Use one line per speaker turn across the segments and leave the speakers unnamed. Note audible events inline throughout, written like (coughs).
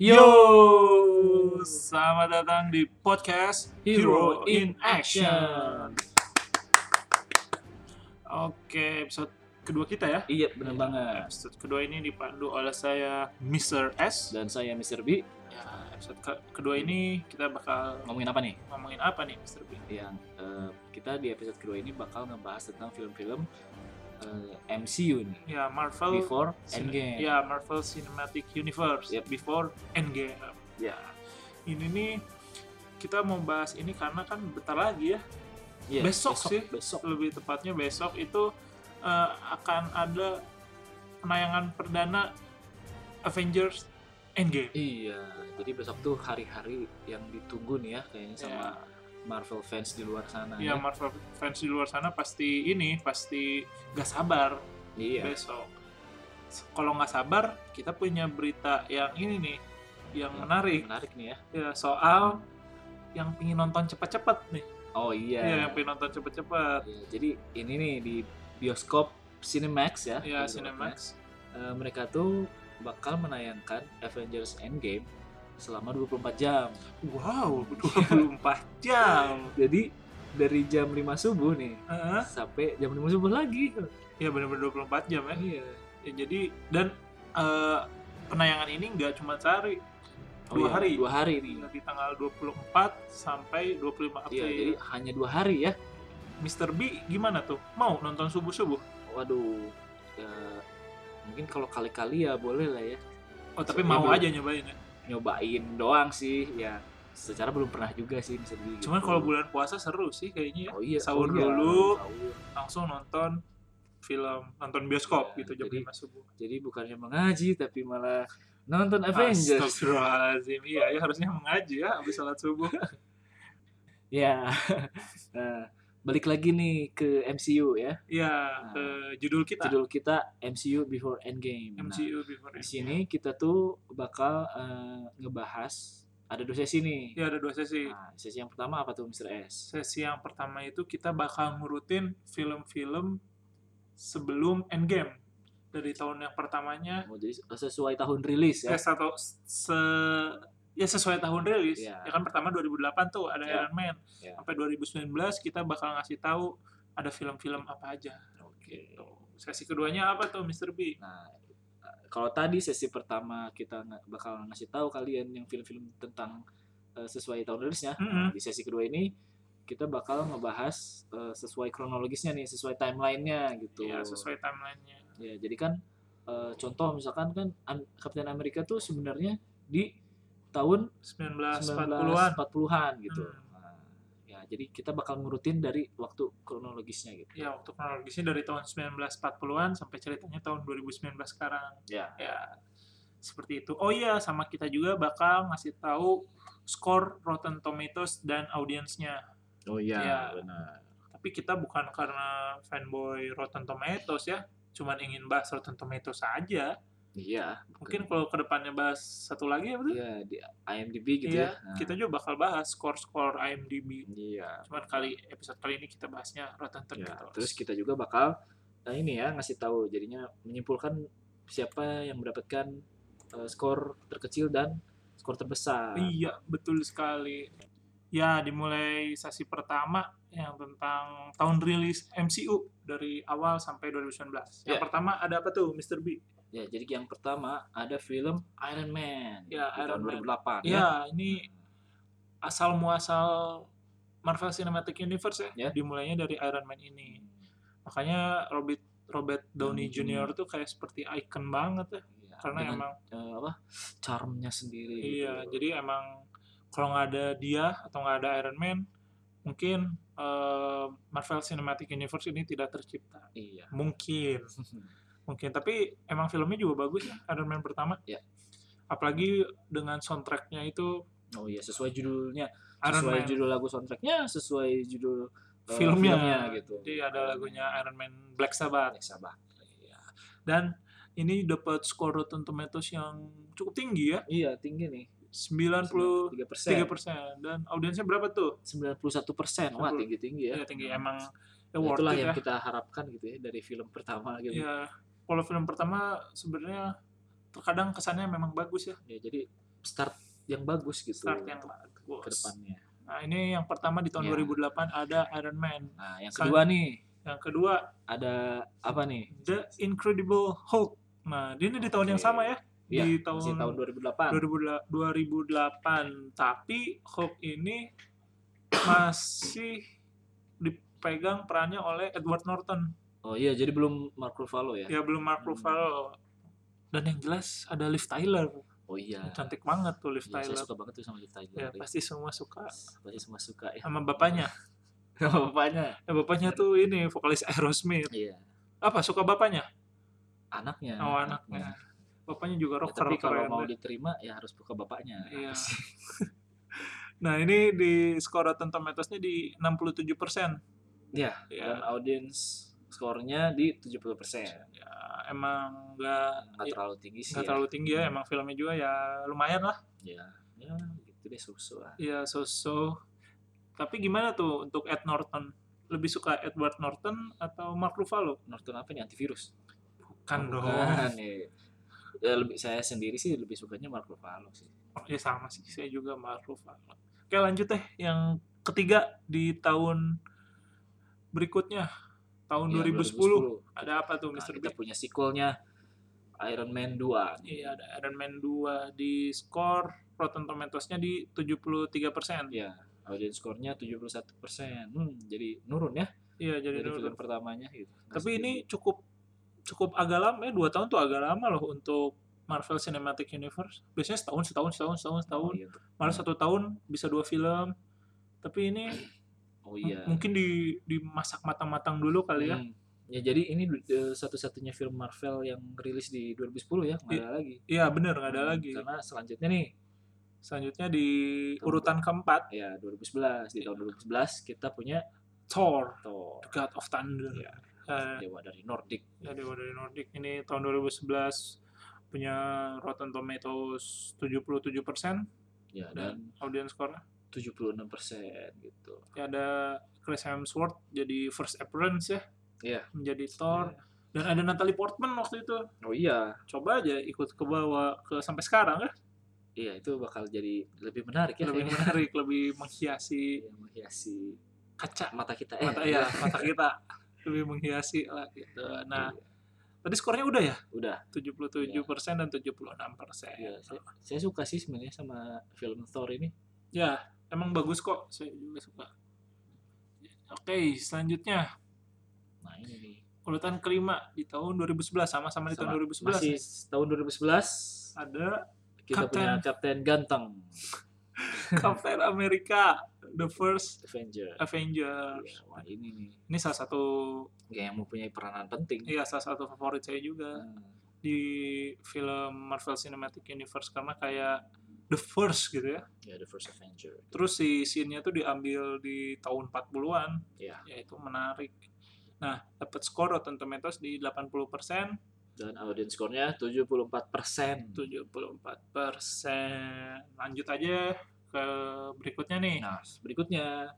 Yo, selamat datang di podcast Hero in Action. Oke, episode kedua kita ya.
Iya, benar banget.
Episode kedua ini dipandu oleh saya Mr. S.
Dan saya Mr. B,
Ya, episode ke- kedua ini kita bakal
ngomongin apa nih?
ngomongin apa nih, Mr. B?
Yang eh, kita di episode kedua ini bakal ngebahas tentang film-film eh, MCU nih.
Ya, Marvel
Before
Cine-
Endgame.
Ya, Marvel Cinematic Universe.
Yep.
Before Endgame.
Iya.
Ya. Ini nih kita mau bahas ini karena kan bentar lagi ya.
Iya,
besok sih. Hmm.
Besok.
Lebih tepatnya besok itu eh, akan ada penayangan perdana Avengers Endgame.
Iya, jadi besok tuh hari-hari yang ditunggu nih ya kayaknya sama
Ya.
Marvel fans di luar sana.
Ya, Marvel fans di luar sana pasti ini pasti gak sabar
Iya.
besok. S- Kalau nggak sabar, kita punya berita yang ini nih, yang menarik
Menarik nih ya.
ya soal yang pingin nonton cepet-cepet nih.
Oh iya.
Iya, yang pingin nonton cepet-cepet.
Iya, jadi ini nih di bioskop Cinemax ya.
Ya,
di
Cinemax.
Eh, mereka tuh bakal menayangkan Avengers Endgame selama 24 jam.
Wow, (laughs) 24 jam.
Jadi dari jam 5 subuh nih
Heeh.
sampai jam 5 subuh lagi.
Ya benar-benar 24 jam ya.
Iya.
Ya, jadi dan eh, penayangan ini nggak cuma sehari, Dua
iya,
hari.
Dua hari nih.
di tanggal 24 sampai 25 April.
Iya, jadi hanya dua hari ya.
Mr. B gimana tuh? Mau nonton subuh-subuh?
Waduh. eh, mungkin kalau kali-kali ya boleh lah ya.
Oh, tapi
Iya,
mau
belum.
aja nyobain ya.
Nyobain doang sih ya. Secara belum pernah juga sih bisa dibilang
Cuman
gitu.
kalau bulan puasa seru sih kayaknya ya.
Oh iya,
sahur
oh iya,
dulu.
sahur.
Langsung nonton film, nonton bioskop
Iya,
gitu jam
jadi-
5 subuh.
Jadi bukannya mengaji tapi malah nonton Avengers.
Astagfirullahaladzim. Iya, ya harusnya mengaji ya habis salat
(laughs)
subuh.
Ya, (laughs) nah, balik lagi nih ke MCU ya.
Iya,
Nah.
ke judul kita.
Judul kita MCU Before Endgame. Nah,
MCU Before
di
Endgame.
sini kita tuh bakal eh, ngebahas ada dua sesi nih.
Ya ada dua sesi.
Nah, sesi yang pertama apa tuh Mr. S?
Sesi yang pertama itu kita bakal ngurutin film-film sebelum Endgame. Dari tahun yang pertamanya
Oh, jadi sesuai tahun rilis
ya,
ya.
satu se ya sesuai tahun rilis.
Ya.
Ya kan pertama 2008 tuh ada
Ya.
Iron Man.
Ya.
Sampai 2019 kita bakal ngasih tahu ada film-film apa aja.
Oke.
Sesi keduanya apa tuh Mr. B?
Nah, kalau tadi sesi pertama kita nge- bakal ngasih tahu kalian yang film-film tentang eh, sesuai tahun rilisnya. Nah,
Mm-mm.
di sesi kedua ini kita bakal ngebahas eh, sesuai kronologisnya nih, sesuai timelinenya gitu.
Ya sesuai timelinenya.
Ya, jadi kan eh, contoh misalkan kan Am- Captain America tuh sebenarnya di tahun
1940-an.
1940-an gitu.
Ah, Hmm.
Nah, ya, jadi kita bakal ngurutin dari waktu kronologisnya gitu.
Ya untuk kronologisnya dari tahun 1940-an sampai ceritanya tahun 2019 sekarang.
Ya.
ya seperti itu oh iya sama kita juga bakal ngasih tahu skor Rotten Tomatoes dan audiensnya
Oh
Ya.
benar.
tapi kita bukan karena fanboy Rotten Tomatoes ya cuman ingin bahas Rotten Tomatoes saja
Iya.
mungkin kalau kedepannya bahas satu lagi ya betul
Iya, di IMDb gitu
Iya,
ya. Nah,
kita juga bakal bahas skor-skor IMDb
Iya.
cuman kali episode kali ini kita bahasnya Rotten
Ya,
Tomatoes
terus kita juga bakal nah ini ya ngasih tahu jadinya menyimpulkan siapa yang mendapatkan eh, skor terkecil dan skor terbesar.
Iya, betul sekali. Ya, dimulai sesi pertama yang tentang tahun rilis MCU dari awal sampai 2019. Yang
Ya.
pertama ada apa tuh, Mr. B?
Ya, jadi yang pertama ada film Iron Man
Ya,
di
Iron Man.
tahun 2008 ya.
Ya, ini asal muasal Marvel Cinematic Universe ya.
Ya.
Dimulainya dari Iron Man ini. Makanya Robert Robert Downey
Downey
Jr. tuh kayak seperti icon banget ya,
Iya,
karena
dengan,
emang
eh, apa? charmnya sendiri.
Iya,
gitu.
jadi emang kalau nggak ada dia atau nggak ada Iron Man, mungkin eh, Marvel Cinematic Universe ini tidak tercipta.
iya. (laughs)
Mungkin, mungkin. Tapi emang filmnya juga bagus ya, Iron Man pertama.
Iya.
Apalagi dengan soundtracknya itu
Oh iya, sesuai judulnya,
Iron Man
sesuai judul lagu soundtracknya, sesuai judul eh,
filmnya. Iya.
gitu.
Jadi ada lagunya Iron Man Black Sabbath
Black Sabbath. Iya.
dan ini dapat skor Rotten Tomatoes yang cukup tinggi ya,
Iya, tinggi nih.
93%
93%.
dan audiensnya berapa tuh?
91 persen, wah
90.
tinggi-tinggi ya.
Ya, tinggi emang ya,
Nah,
worth
itulah
it
yang
ya.
kita harapkan gitu ya dari film pertama gitu.
Iya, kalau film pertama sebenarnya terkadang kesannya memang bagus ya.
Ya, jadi start yang bagus gitu
start yang
untuk
bagus.
kedepannya.
Nah, ini yang pertama di tahun
Ya.
2008 ada Iron Man.
Nah, yang
Kan-
kedua nih
Yang kedua
ada apa nih?
The Incredible Hulk. Nah, ini di tahun yang
Oke.
sama ya.
Iya,
di
Masih tahun 2008.
2008. 2008. Tapi Hulk ini masih dipegang perannya oleh Edward Norton.
Oh iya, jadi belum Mark Ruffalo ya.
Ya belum Mark
Hmm.
Ruffalo. Dan yang jelas ada Liv Tyler.
Oh iya.
Cantik banget tuh Liv
Iya, saya
Tyler.
suka banget tuh sama Liv
Ya
Tyler. Ya.
pasti semua suka
Pasti semua suka ya. (laughs)
sama bapaknya.
Sama bapaknya.
Ya, bapaknya tuh ini vokalis Aerosmith.
Iya,
Apa suka bapaknya?
anaknya.
Oh anaknya. Bapaknya juga
Iya, Ya,
rocker
tapi kalau
keren
mau
deh.
diterima ya harus buka bapaknya.
Iya.
Apa sih?
(laughs) Nah ini di skor Rotten Tomatoes-nya di 67 persen.
Iya, Dan audience skornya di 70%.
ya, emang nggak
Nggak terlalu tinggi
Iya.
sih.
nggak terlalu tinggi ya. Emang filmnya juga ya lumayan lah.
Ya. ya, gitu deh susu lah.
Ya so-so. Tapi gimana tuh untuk Ed Norton? Lebih suka Edward Norton atau Mark Ruffalo?
Norton apa nih antivirus?
Bukan Kan
Kan
dong.
Bukan, iya. Ya, lebih, saya sendiri sih lebih sukanya Mark Ruffalo sih.
Ya sama sih. Saya juga Mark Ruffalo. Oke lanjut deh. Yang ketiga di tahun berikutnya. Tahun
Iya,
2010. Ada apa tuh
Nah,
Mr.
kita
Bean?
punya sequelnya Iron Man 2 nih.
Iya, ada Iron Man 2 di skor Rotten Tomatoes-nya di 73 persen.
Ya, audience skornya 71%. Hmm, jadi nurun ya
Iya, jadi
dari
nurun.
film pertamanya gitu.
Tapi
Terus
ini cukup cukup agak lama ya, 2 tahun tuh agak lama loh untuk Marvel Cinematic Universe. Biasanya setahun, setahun, setahun, setahun,
jadi- oh
setahun.
iya. tuh.
Malah satu tahun bisa dua film. Tapi ini
Oh iya.
m- mungkin di dimasak matang-matang dulu Hmm, kali ya.
Hmm. Ya jadi ini eh, satu-satunya film Marvel yang rilis di 2010 ya, nggak ada lagi.
Iya, bener, nggak ada
Hmm,
lagi.
Karena selanjutnya nih,
Selanjutnya di urutan keempat,
ya 2011
Iya.
di tahun 2011 kita punya
Thor,
Thor,
The God of Thunder.
Iya.
Eh,
dewa dari Nordik.
ya Dewa dari Nordic ini tahun 2011 punya Rotten Tomatoes 77 persen
Ya dan
dan audience score
76% gitu.
ya ada Chris Hemsworth jadi first appearance ya
Iya.
menjadi Thor dan ada Natalie Portman waktu itu
Oh iya,
coba aja ikut ke bawah ke sampai sekarang ya
iya itu bakal jadi lebih menarik ya.
lebih
kayaknya.
menarik lebih menghiasi
Yang menghiasi
kaca
mata kita. Eh,
mata ya mata kita lebih menghiasi lah gitu nah
iya.
tadi skornya udah ya
udah.
77 persen dan 76 persen
Iya, saya, saya suka sih sebenarnya sama film Thor ini.
Ya, emang bagus kok. Saya juga suka. Oke, selanjutnya
Nah ini nih.
urutan kelima di tahun 2011 sama-sama di
Sama.
tahun 2011
Masih
nih.
tahun 2011
ada
kita
Kapten.
punya Kapten Ganteng
Captain America The First
Avenger.
Avenger.
Iya, Wah ini nih
Ini salah satu
kayak yang mempunyai peranan penting.
ya
Nah.
salah satu favorit saya juga di film Marvel Cinematic Universe karena kayak the first gitu ya.
Ya The First Avenger.
Terus si scene-nya tuh diambil di tahun 40-an.
Iya.
Ya itu menarik. Nah, dapat skor Rotten Tomatoes di 80%.
Dan audience skornya 74 persen.
74 Lanjut aja ke berikutnya nih.
Nah berikutnya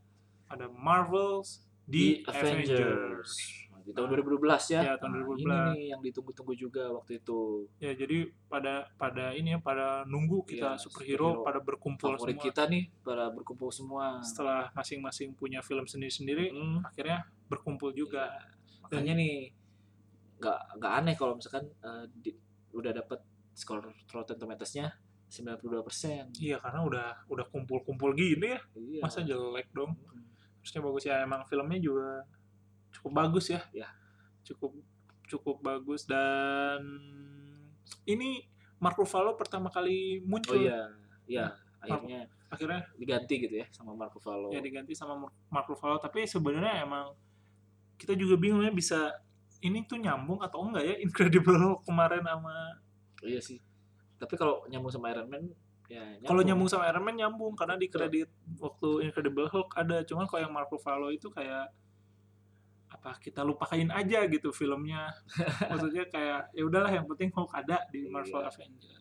Ada Marvels The, Avengers.
Nah, di tahun 2012 ya.
Ya, tahun
Nah,
2012.
ini nih yang ditunggu-tunggu juga waktu itu.
Ya jadi pada pada ini ya pada nunggu kita
Iya,
superhero,
superhero
pada berkumpul
Favorit
semua.
kita nih para berkumpul semua.
Setelah masing-masing punya film sendiri-sendiri,
Hmm.
akhirnya berkumpul juga.
Iya. makanya nih nggak nggak aneh kalau misalkan eh, di- udah dapat skor Rotten Tomatoes-nya 92 persen
Iya karena udah udah kumpul-kumpul gini ya,
iya.
masa jelek dong. Terusnya bagus ya emang filmnya juga cukup bagus ya.
Ya.
Cukup cukup bagus dan ini Mark Ruffalo pertama kali
oh
muncul.
iya iya akhirnya
Akhirnya
diganti gitu ya sama Marco Valo
ya diganti sama Mar- Mark Ruffalo tapi sebenarnya emang kita juga bingung ya bisa ini tuh nyambung atau enggak ya Incredible (laughs) Hulk kemarin sama
iya sih tapi kalau nyambung sama Iron Man ya
kalau nyambung sama Iron Man nyambung karena di kredit waktu Incredible Hulk ada cuman kalau yang Mark Ruffalo itu kayak apa kita lupain aja gitu filmnya maksudnya kayak ya udahlah yang penting Hulk ada di Marvel
Iya.
Avengers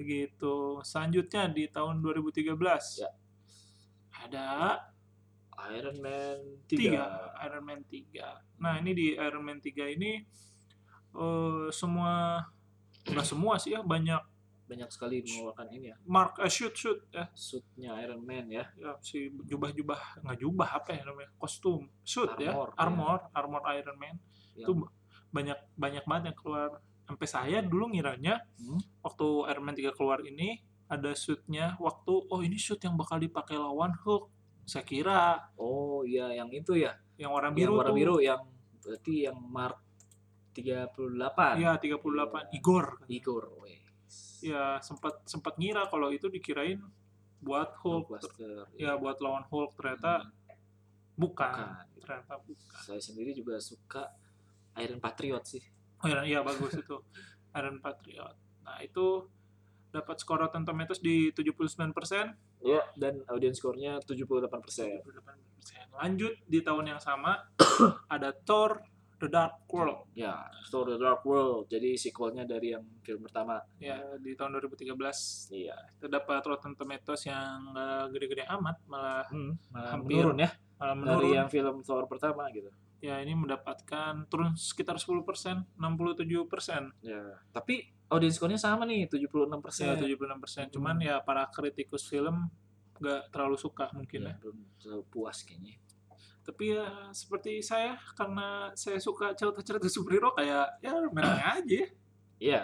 begitu selanjutnya di tahun 2013
Ya.
ada
Iron Man 3,
tiga Iron Man 3 nah ini di Iron Man 3 ini eh semua nggak semua sih ya banyak
banyak sekali mengeluarkan ini ya
Mark eh, shoot shoot ya,
suitnya Iron Man ya
ya si jubah-jubah nggak jubah apa ya namanya kostum suit
Armor, Iya.
ya armor armor Iron Man
Yang-
itu banyak banyak banget yang keluar sampai saya dulu ngiranya
Hmm.
waktu Iron Man 3 keluar ini ada suitnya waktu oh ini suit yang bakal dipakai lawan Hulk saya kira
oh iya yang itu ya
yang warna
yang
biru
warna
tuh.
biru yang berarti yang Mark 38
Iya, 38 Igor.
Igor weh.
Ya, sempat sempat ngira kalau itu dikirain buat Hulk.
Hulkbuster
Ya, buat lawan Hulk ternyata
Hmm,
bukan.
iya. bukan.
Ternyata bukan.
saya sendiri juga suka Iron Patriot sih
Oh, iya, iya, bagus itu. Iron Patriot. Nah, itu dapat skor Rotten Tomatoes di 79%,
ya dan audience skornya 78%
78%. Lanjut di tahun yang sama (coughs) ada Thor The Dark World.
ya Thor The Dark World jadi sequelnya dari yang film pertama
Ya, di tahun 2013
iya
itu dapat Rotten Tomatoes yang nggak gede-gede amat, malah
malah
Hampir
menurun ya
malah
dari
menurun.
yang film Thor pertama gitu
ya ini mendapatkan turun sekitar 10 persen, 67 persen,
ya tapi audience skornya sama nih 76%
ya 76 persen. Cuman ya para kritikus film nggak terlalu suka mungkin ya.
Ya, belum terlalu puas kayaknya
Tapi ya seperti saya karena saya suka cerita-cerita superhero kayak ya rame-rame aja, ya.
iya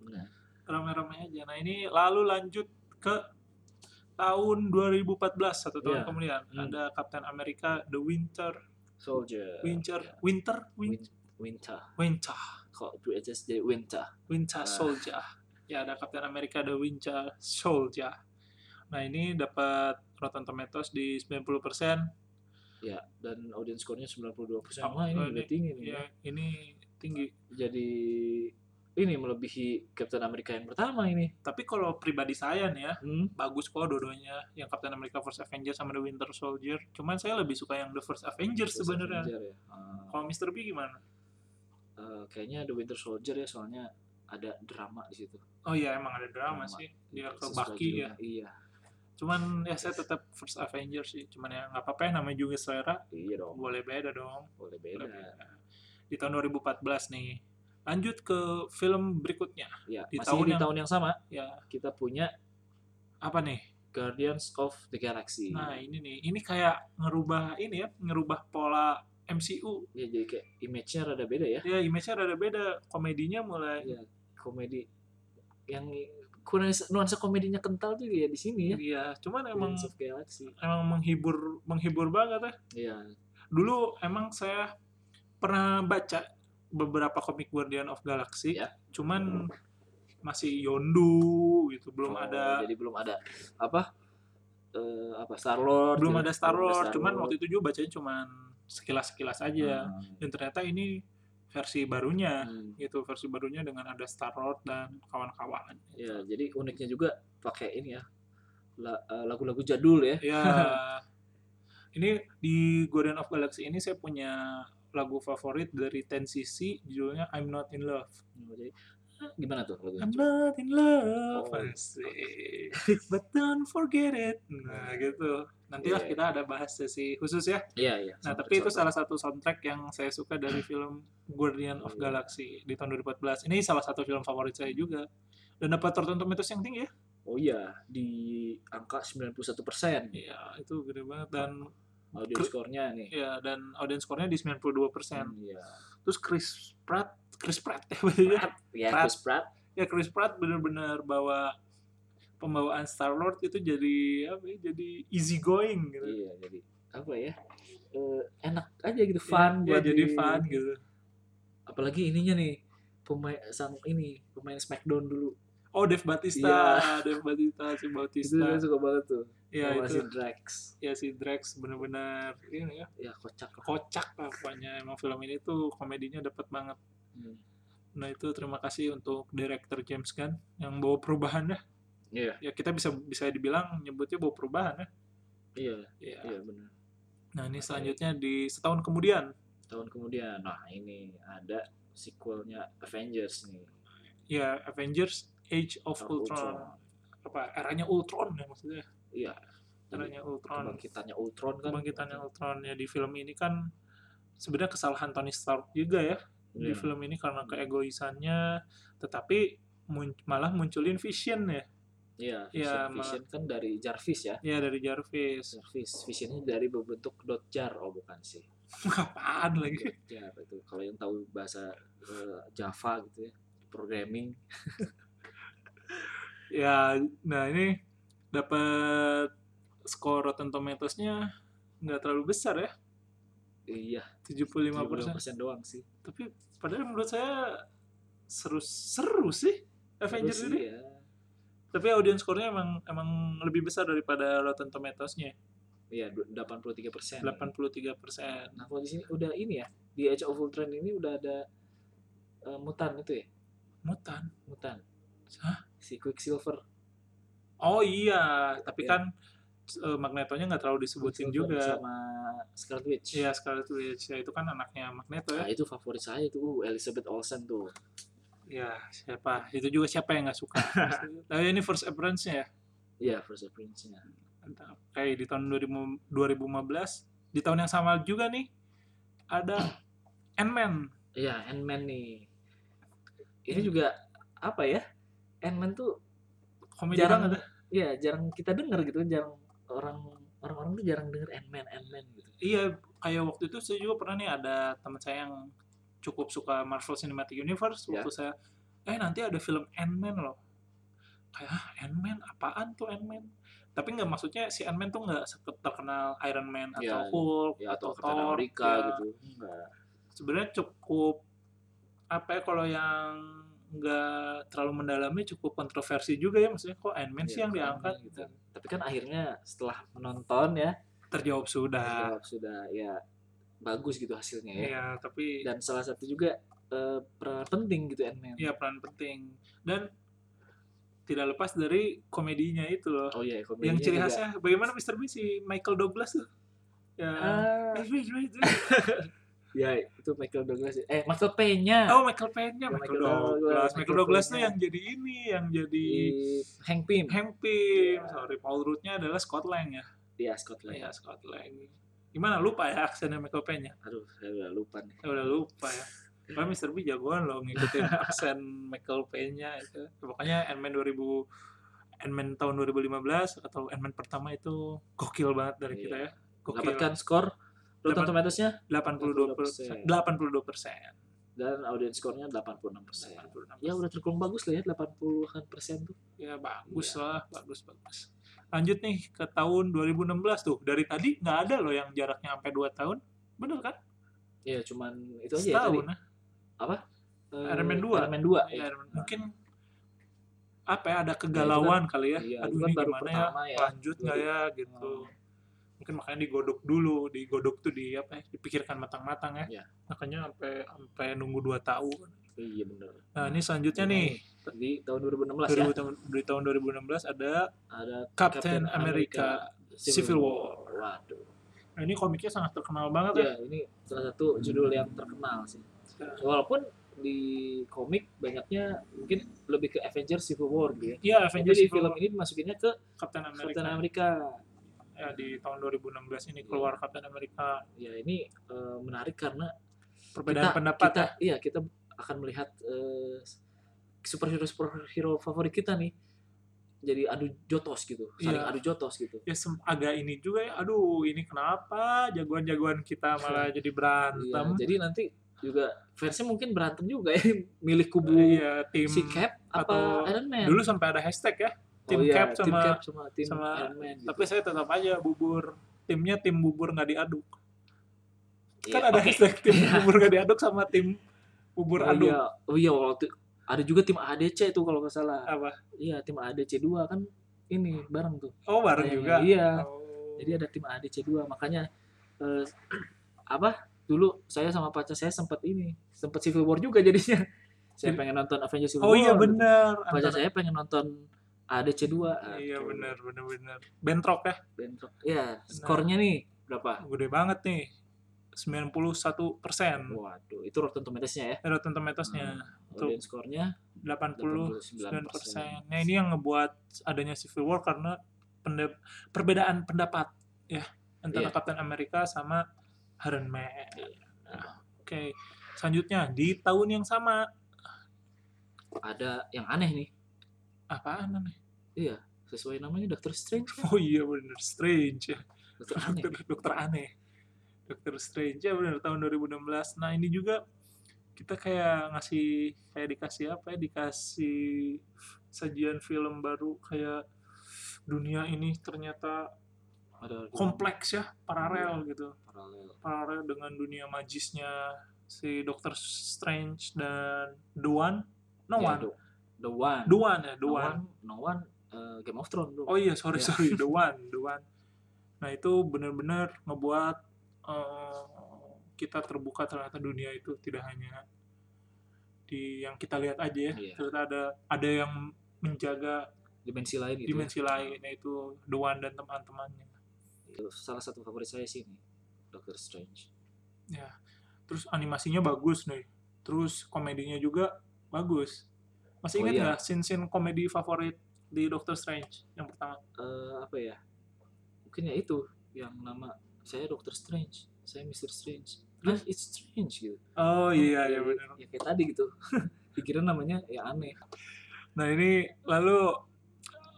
benar
rame-rame aja. Nah ini lalu lanjut ke tahun 2014 satu tahun
Iya.
kemudian
Hmm.
ada Captain America The Winter
Soldier
Winter
Ya.
Winter Win-
Win- winter
Winter
kalau itu aja dari winter
Winter
Ah.
Soldier. Ya ada Captain America The Winter Soldier. Nah ini dapat Rotten Tomatoes di 90%.
ya dan audience skornya 92%
Oh,
wah ini
oh,
udah
ini-
tinggi nih
Ya ini tinggi.
jadi ini melebihi Captain America yang pertama ini
Tapi kalau pribadi saya nih ya,
hmm.
bagus kok dua-duanya. Yang Captain America First Avenger sama The Winter Soldier. Cuman saya lebih suka yang The First Avenger
First
sebenarnya.
Avenger ya. Ah,
Kalau Mr. B gimana?
eh, kayaknya The Winter Soldier ya soalnya ada drama di situ
Oh iya emang ada drama,
Drama.
sih. Dia ke
Sesuai
Bucky ya.
judulnya. iya
Cuman ya saya tetap First Avenger sih. Cuman ya nggak apa-apa ya namanya juga selera.
iya dong
Boleh beda dong.
boleh beda
Lebih, eh, di tahun 2014 nih. Lanjut ke film berikutnya.
ya
Di
masih
tahun
di
yang-
tahun yang sama
Ya,
kita punya
apa nih?
Guardians of the Galaxy
Nah, ini nih. Ini kayak ngerubah ini ya, ngerubah pola MCU.
ya jadi kayak image-nya rada beda ya
Ya, image-nya rada beda. Komedinya mulai
ya komedi yang nuansa, nuansa komedinya kental tuh ya di sini ya
Iya, cuman emang
Guardians of Galaxy
emang menghibur menghibur banget ya.
ya
Dulu emang saya pernah baca beberapa komik Guardian of Galaxy.
Ya.
Cuman masih Yondu gitu, belum
Oh,
ada
jadi belum ada apa eh, apa Star Lord ya?
belum ada Star Wars, cuman waktu itu juga bacanya cuman sekilas-sekilas aja.
Hmm.
Dan ternyata ini versi barunya gitu, versi barunya dengan ada Star Lord dan kawan-kawan.
ya jadi uniknya juga pakai ini ya la- eh, lagu-lagu jadul ya
Ya, (laughs) ini di Guardian of Galaxy ini saya punya lagu favorit dari 10cc judulnya I'm Not In Love.
jadi eh, gimana tuh lagunya
I'm not in love,
Oh.
asik. but don't forget it. Nah gitu. Nantilah
Iya.
kita ada bahas sesi khusus ya.
iya iya
Nah,
sama-
tapi itu
sama.
salah satu soundtrack yang saya suka dari film Guardian of
Iya.
Galaxy di tahun 2014. Ini salah satu film favorit saya juga. Dan dapat Rotten Tomatoes yang tinggi ya.
oh iya di angka 91 persen
Iya, itu gede banget dan
audio
Kru-
skornya nih
ya dan audience score-nya di 92%.
Hmm, iya
Terus Chris Pratt, Chris Pratt ya maksudnya.
ya
Pratt.
Chris Pratt
Ya Chris Pratt bener-bener bawa pembawaan Star Lord itu jadi apa ya, jadi easy going gitu.
iya jadi apa ya eh, enak aja gitu fun
ya,
buat
jadi
di-
fun gitu.
apalagi ininya nih pemain sang ini pemain Smackdown dulu
Oh, Dev Batista, Dev Batista, si
Iya. itu saya
Bautista.
suka banget tuh
Ya,
sama si
itu
Drax
ya si Drax bener-bener ini ya
ya kocak lah
kocak lah pokoknya emang film ini tuh komedinya dapat banget
Hmm.
nah itu terima kasih untuk director James Gunn yang bawa perubahan ya
iya
ya kita bisa bisa dibilang nyebutnya bawa perubahan ya
iya
Iya.
iya benar
nah ini selanjutnya di setahun kemudian
tahun kemudian nah ini ada sequelnya Avengers nih
ya Avengers Age of
Of
Ultron,
Ultron.
apa eranya Ultron ya maksudnya
iya
eranya Ultron
kebangkitannya Ultron
ya.
kan
kebangkitannya Ultron ya di film ini kan sebenarnya kesalahan Tony Stark juga ya di
Iya.
film ini karena keegoisannya tetapi mun- malah munculin Vision ya
Iya,
Iya,
vision, vision kan dari Jarvis ya.
ya dari Jarvis (laughs)
Jarvis, visionnya dari berbentuk dot jar, oh bukan sih.
apaan lagi
Dot jar itu Ya, kalau yang tahu bahasa eh, Java gitu ya, programming.
ya nah ini dapat skor Rotten Tomatoes-nya nggak terlalu besar ya
Iya,
75%.
75% doang sih.
tapi padahal menurut saya seru seru sih Avengers
Terus
ini
iya.
tapi audience score-nya emang emang lebih besar daripada Rotten Tomatoes-nya
Iya, du-
83%
83%. Nah, kalau di sini udah ini ya, di Age of Ultron ini udah ada eh, mutan itu ya,
mutan
mutan.
Hah?
Si Quicksilver.
oh iya tapi
Iya.
kan eh, Magnetonya nggak terlalu disebutin
Quicksilver
juga
sama Scarlet Witch.
Iya Scarlet Witch ya, itu kan anaknya Magneto ya.
Nah, itu favorit saya itu uh, Elizabeth Olsen tuh.
Ya siapa itu juga siapa yang nggak
(laughs)
suka. Nah ini first appearance-nya ya.
Iya, First Prince-nya.
Mantap. Kayak di tahun 2000 2015 di tahun yang sama juga nih ada Ant-Man.
Iya, Ant-Man nih. Ini juga apa ya? Ant-Man tuh
Komedi
Jarang.
banget. ya.
ya jarang kita dengar gitu, jarang orang orang-orang tuh jarang denger Ant-Man, Ant-Man gitu.
Iya kayak waktu itu saya juga pernah nih ada teman saya yang cukup suka Marvel Cinematic Universe
Ya.
waktu saya eh nanti ada film Ant-Man loh. Kayak "Hah, Ant-Man apaan tuh Ant-Man? Tapi nggak maksudnya si Ant-Man tuh nggak se- terkenal Iron Man atau
Ya,
Hulk
Ya atau
atau
Captain
Thor
America
ya.
gitu. Enggak.
sebenarnya cukup apa ya kalau yang nggak terlalu mendalami cukup kontroversi juga ya maksudnya kok Iron Man
Iya,
sih yang
kok Iron
diangkat
Man gitu. Tapi kan akhirnya setelah menonton ya,
terjawab sudah
terjawab sudah ya bagus gitu hasilnya ya.
ya tapi
Dan salah satu juga eh, peran penting gitu Ant-Man.
ya peran penting dan tidak lepas dari komedinya itu loh
Oh iya,
yang
komedinya
ciri
juga.
khasnya bagaimana Mr. Bean si Michael Douglas tuh ya
Ah,
Eh, wait, wait, wait.
ya itu Michael Douglas. Eh, Michael Pena.
Oh Michael Pena,
Ya,
Michael
Michael Douglas,
Douglas, Michael
Michael
Douglas
Pena.
tuh yang jadi ini, yang jadi
di Hank Pym.
iya. Hank Pym,
Iya.
sorry Paul Rudd-nya adalah Scott Lang ya.
Iya, Scotland.
Iya, Scott Lang. Gimana lupa ya aksennya Michael Pena?
Aduh, saya udah lupa nih.
Saya udah lupa ya. Padahal Mr. B jagoan loh ngikutin
(laughs)
aksen Michael Pena itu. Pokoknya Ant-Man 2000 Ant-Man tahun 2015 atau Ant-Man pertama itu gokil banget dari
Iya.
kita ya. Gokil.
Dapatkan skor Rotten
Dapat-
Tomatoes-nya
82 82%.
82%. dan audience score-nya 86%.
86.
Ya udah tergolong bagus lah ya 80-an persen tuh.
Ya bagus
Iya.
lah, bagus bagus. Lanjut nih ke tahun 2016 tuh. Dari tadi nggak ada loh yang jaraknya sampai 2 tahun. Bener kan?
Ya cuman itu aja ya
Setahun.
tadi. Eh,
Iron Man 2.
Iron Man 2.
Ya,
Ya.
mungkin apa ya ada kegalauan kali ya.
Iya,
Aduh
itu kan
ini
baru
gimana ya?
pertama ya.
Lanjut nggak ya gitu.
Oh.
Mungkin makanya digodok dulu, digodok tuh di apa ya? Dipikirkan matang-matang ya.
Iya.
Makanya sampai sampai nunggu 2 tahun.
Iya bener.
Nah, ini selanjutnya nih
Di tahun 2016 Iya, ya
2000 tahun- di tahun 2016 ada
ada
Captain,
Captain
America, Civil War.
Waduh.
Nah, ini komiknya sangat terkenal banget ya.
Ya, ini
Hmm.
salah satu judul yang terkenal sih. Walaupun di komik banyaknya mungkin lebih ke Avengers Civil War gitu ya.
Iya,
Tapi
Avengers
di
Civil
film
War,
ini dimasukinnya ke
Captain America.
Captain Iya. America.
Ya, di tahun 2016 ini keluar Captain America.
Ya ini eh, menarik karena
Perbedaan
kita,
pendapat
kita
ya.
iya kita akan melihat eh, superhero superhero favorit kita nih jadi adu jotos gitu, saling
Iya.
adu jotos gitu.
Ya sem- agak ini juga ya. Aduh, ini kenapa jagoan-jagoan kita malah
(laughs)
jadi
Iya,
berantem?
jadi nanti juga fansnya mungkin berantem juga ya (laughs) milih kubu
Iya, tim
si Cap
atau-
apa Iron Man.
dulu sampai ada hashtag ya.
Oh
Tim
iya,
Cap
tim
sama
Cap sama tim
sama-
Iron Man. gitu.
tapi saya tetap aja bubur. Timnya tim bubur nggak diaduk. Kan
Iya,
ada
oke.
hashtag tim
Iya.
bubur nggak diaduk sama tim bubur
Oh
aduk.
iya, oh iya waktu ada juga tim ADC itu kalau nggak salah.
Apa?
Iya, tim ADC 2 kan ini bareng tuh.
Oh, bareng
Iya,
juga.
Iya.
Oh.
Jadi ada tim ADC 2 makanya eh, (clears throat) apa? Dulu saya sama pacar saya sempat ini, sempat Civil War juga jadinya. (laughs) Saya
Jadi-
pengen nonton Avengers Civil
Oh
War.
iya benar.
Pacar saya pengen nonton ADC 2.
Iya benar benar benar. Bentrok ya.
Bentrok. Iya, skornya nih berapa?
Gede banget nih. 91 persen.
Waduh, itu Rotten Tomatoes-nya ya.
Rotten Tomatoes-nya
Hmm.
Betul.
Audience skornya
89 persen.
89%.
Nah ini yang ngebuat adanya Civil War karena pende- perbedaan pendapat ya antara
Iya.
Captain America sama Iron Man. Nah, Oke, selanjutnya di tahun yang sama
ada yang aneh nih
Apaan aneh?
sesuai namanya Doctor Strange kan?
(laughs) Oh iya bener, Strange ya.
Dokter aneh.
Dokter, (laughs) dokter aneh. Dokter Strange ya bener, tahun 2016. Nah ini juga kita kayak ngasih, kayak dikasih apa ya, dikasih sajian film baru kayak dunia ini ternyata
ada
kompleks ya,
Hmm.
paralel gitu.
paralel
paralel dengan dunia magisnya si Doctor Strange dan The One. No
Ya,
One.
The- the one
The One ya, The
no
One.
one, no one eh, Game of Thrones bro.
Oh iya, sorry,
Ya.
sorry. The One, The One. Nah itu bener-bener ngebuat eh, kita terbuka ternyata dunia itu tidak hanya di yang kita lihat aja ya.
Iya.
Ternyata ada ada yang menjaga
dimensi lain gitu
dimensi
ya.
lain yaitu The One dan teman-temannya.
Itu salah satu favorit saya sih nih Doctor Strange
Ya. Terus animasinya bagus nih. Terus komedinya juga bagus. Masih
Oh
ingat
iya.
nggak scene-scene komedi favorit di Doctor Strange yang pertama?
eh apa ya mungkin ya itu yang nama saya Doctor Strange saya Mr. Strange Life is strange gitu
Oh iya iya
Ya,
benar.
ya kayak tadi gitu (laughs) pikiran namanya ya aneh
Nah ini lalu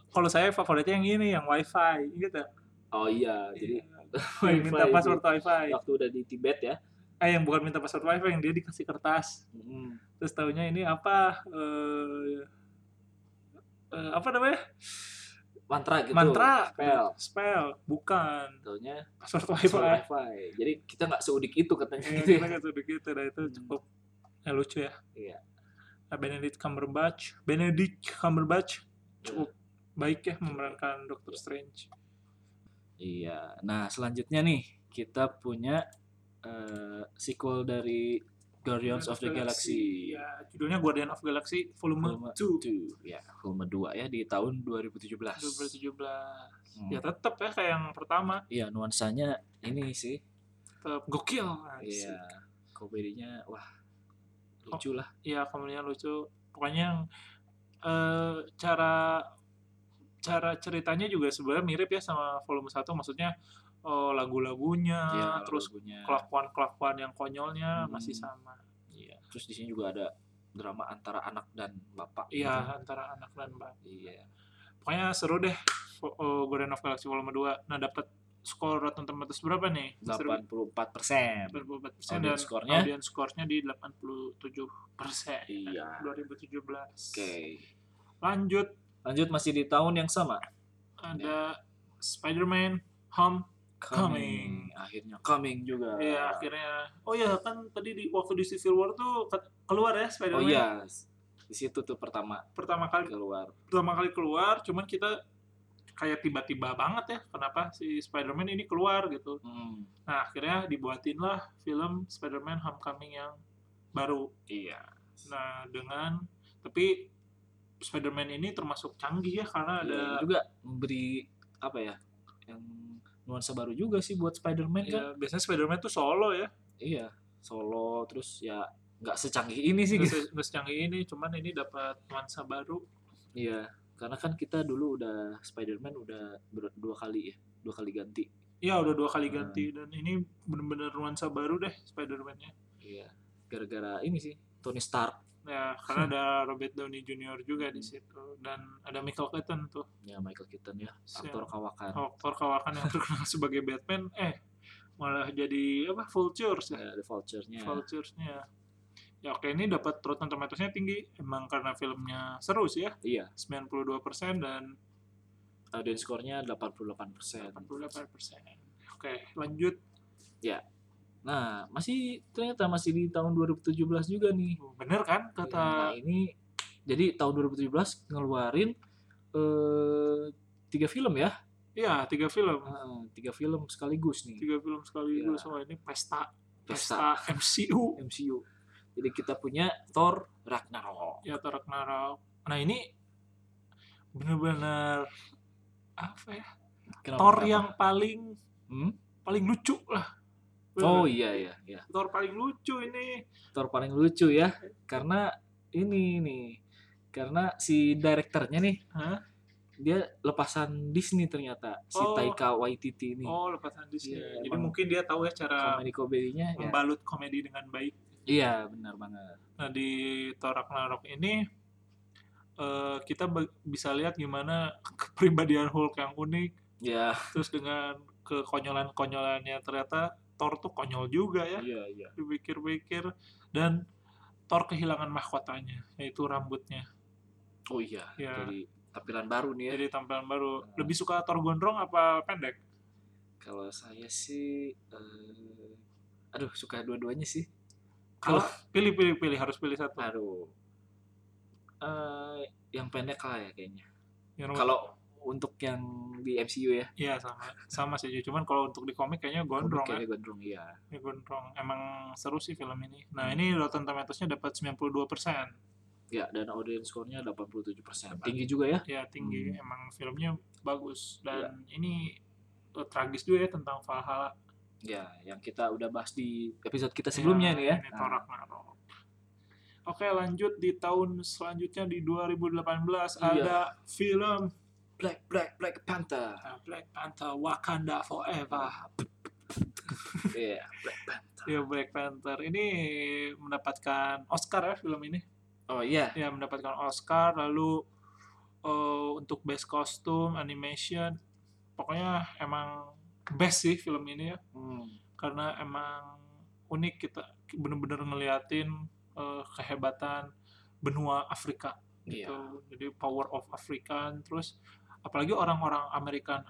kalau saya favoritnya yang ini yang WiFi gitu.
oh iya jadi
(laughs) Yang minta
Wi-Fi
password WiFi. Iya.
itu waktu udah di Tibet ya
Eh yang bukan minta password WiFi yang dia dikasih kertas.
Mm.
Terus tahunya ini apa? eh eh, apa namanya?
mantra gitu
Mantra.
spell
Spell. Bukan.
taunya
Password
password
WiFi.
wifi jadi kita nggak seudik itu katanya
Iya,
gitu
kita
ya
kan sudah gitu, nah itu
Hmm.
cukup ya, lucu ya.
Iya.
Nah, Benedict Cumberbatch, Benedict Cumberbatch cukup baik ya memerankan Doctor Strange.
iya nah selanjutnya nih kita punya eh, sequel dari Guardians of the Galaxy
Ya, judulnya Guardian of Galaxy Volume
Volume
2
Two, ya volume 2 ya di tahun 2017
2017.
Hmm.
Ya tetap ya kayak yang pertama,
iya nuansanya ini sih
tetap gokil. Asik.
iya komedinya wah lucu lah
Iya, komedinya lucu. Pokoknya yang eh, cara cara ceritanya juga sebenarnya mirip ya sama volume 1 maksudnya eh, lagu-lagunya,
Iya,
terus
lagunya.
kelakuan-kelakuan yang konyolnya
Hmm.
masih sama.
iya terus di sini juga ada drama antara anak dan bapak
Iya,
gitu.
antara anak dan bapak.
iya
Pokoknya seru deh. Fo- oh, Guardian of Galaxy Volume 2. Nah, dapat skor Rotten Tomatoes berapa nih?
84 persen
84% dan
Audience score-nya?
audience score-nya di 87%.
Iya.
2017.
oke
Lanjut
lanjut masih di tahun yang sama Iya.
ada Spider-Man Home Coming.
akhirnya coming juga
Ya, akhirnya. Oh ya, kan tadi di waktu di Civil War tuh ke- keluar ya
oh
Spider-Man.
iya di situ tuh pertama
Pertama kali
keluar
pertama kali keluar cuman kita kayak tiba-tiba banget ya kenapa si Spider-Man ini keluar gitu
Hmm,
nah akhirnya dibuatin lah film Spider-Man Homecoming yang baru
iya
nah dengan tapi Spider-Man ini termasuk canggih ya karena ada
Iya, juga memberi apa ya yang nuansa baru juga sih buat Spider-Man kan
ya, biasanya Spider-Man tuh solo ya
iya solo terus ya nggak secanggih ini sih
nggak
gitu
se- nggak secanggih ini cuman ini dapat nuansa baru
iya karena kan kita dulu udah Spider-Man udah ber- dua kali ya dua kali ganti
ya udah dua
Nah.
kali ganti dan ini bener-bener nuansa baru deh Spider-Man-nya
iya gara-gara ini sih Tony Stark
ya karena
(laughs)
ada Robert Downey Jr. juga di situ dan ada Michael Keaton tuh
ya Michael Keaton ya
Si-
aktor kawakan
aktor kawakan yang terkenal (laughs) sebagai Batman eh malah jadi apa vultures ya
ya, The Vulture-nya
vulturesnya ya oke ini dapat Rotten Tomatoes-nya tinggi emang karena filmnya seru sih ya
iya
92% dan
audience score-nya 88%.
88% oke lanjut
Nah, masih ternyata masih di tahun 2017 juga nih.
bener kan
Nah,
kata
ini jadi tahun 2017 ngeluarin eh tiga film ya.
iya tiga film
Heeh, tiga film sekaligus nih.
tiga film sekaligus
Iya.
sama ini pesta
Pesta
pesta MCU
MCU. Jadi kita punya Thor Ragnarok.
ya Thor Ragnarok nah ini bener-bener apa ya
Kenapa-
Thor
kenapa?
yang paling
Hmm?
paling lucu lah
Oh
Bener.
iya iya iya.
Thor paling lucu ini
Thor paling lucu ya karena ini nih. Karena si direkturnya nih
Hah?
dia lepasan Disney ternyata si
Oh.
Taika Waititi ini.
oh lepas Disney
Iya,
jadi
emang.
mungkin dia tahu ya cara
komedi komedinya ya.
membalut komedi dengan baik
Iya benar banget.
nah di Thor Ragnarok ini eh, kita be- bisa lihat gimana (laughs) kepribadian Hulk yang unik
ya
terus dengan kekonyolan-konyolannya ternyata Thor tuh konyol juga ya
iya iya
dipikir-pikir dan Thor kehilangan mahkotanya yaitu rambutnya
oh iya
ya
jadi tampilan baru nih ya
jadi tampilan baru lebih suka Thor gondrong apa pendek
kalau saya sih eh, aduh suka dua-duanya sih
kalau pilih pilih pilih harus pilih satu
aduh Eh, yang pendek lah ya kayaknya
Yang nomor-
kalau untuk yang di MCU ya
Iya sama sama sih Ju. cuman kalau untuk di komik kayaknya gondrong ya.
kayaknya gondrong iya
Ini gondrong. Emang seru sih film ini. Nah, ini Rotten Tomatoes-nya dapat 92%.
ya dan audience score-nya 87% tinggi juga ya
Ya, tinggi.
Hmm. Iya.
Emang filmnya bagus dan ini eh, tragis juga ya tentang Valhalla.
ya yang kita udah bahas di episode kita sebelumnya nih ya
Iya, Ini Thor
Nah,
Ragnarok. Oke, lanjut di tahun selanjutnya di 2018
Iya.
ada film
Black Black Black Panther
(laughs) eh, Black Panther Wakanda Forever.
Iya, Black Panther.
Ya, Black Panther ini mendapatkan Oscar ya film ini.
Oh iya,
ya mendapatkan Oscar lalu eh, untuk best costume animation pokoknya emang best sih film ini ya
Hmm,
karena emang unik kita bener-bener ngeliatin eh, kehebatan benua Afrika
iya,
gitu jadi power of African terus apalagi orang-orang American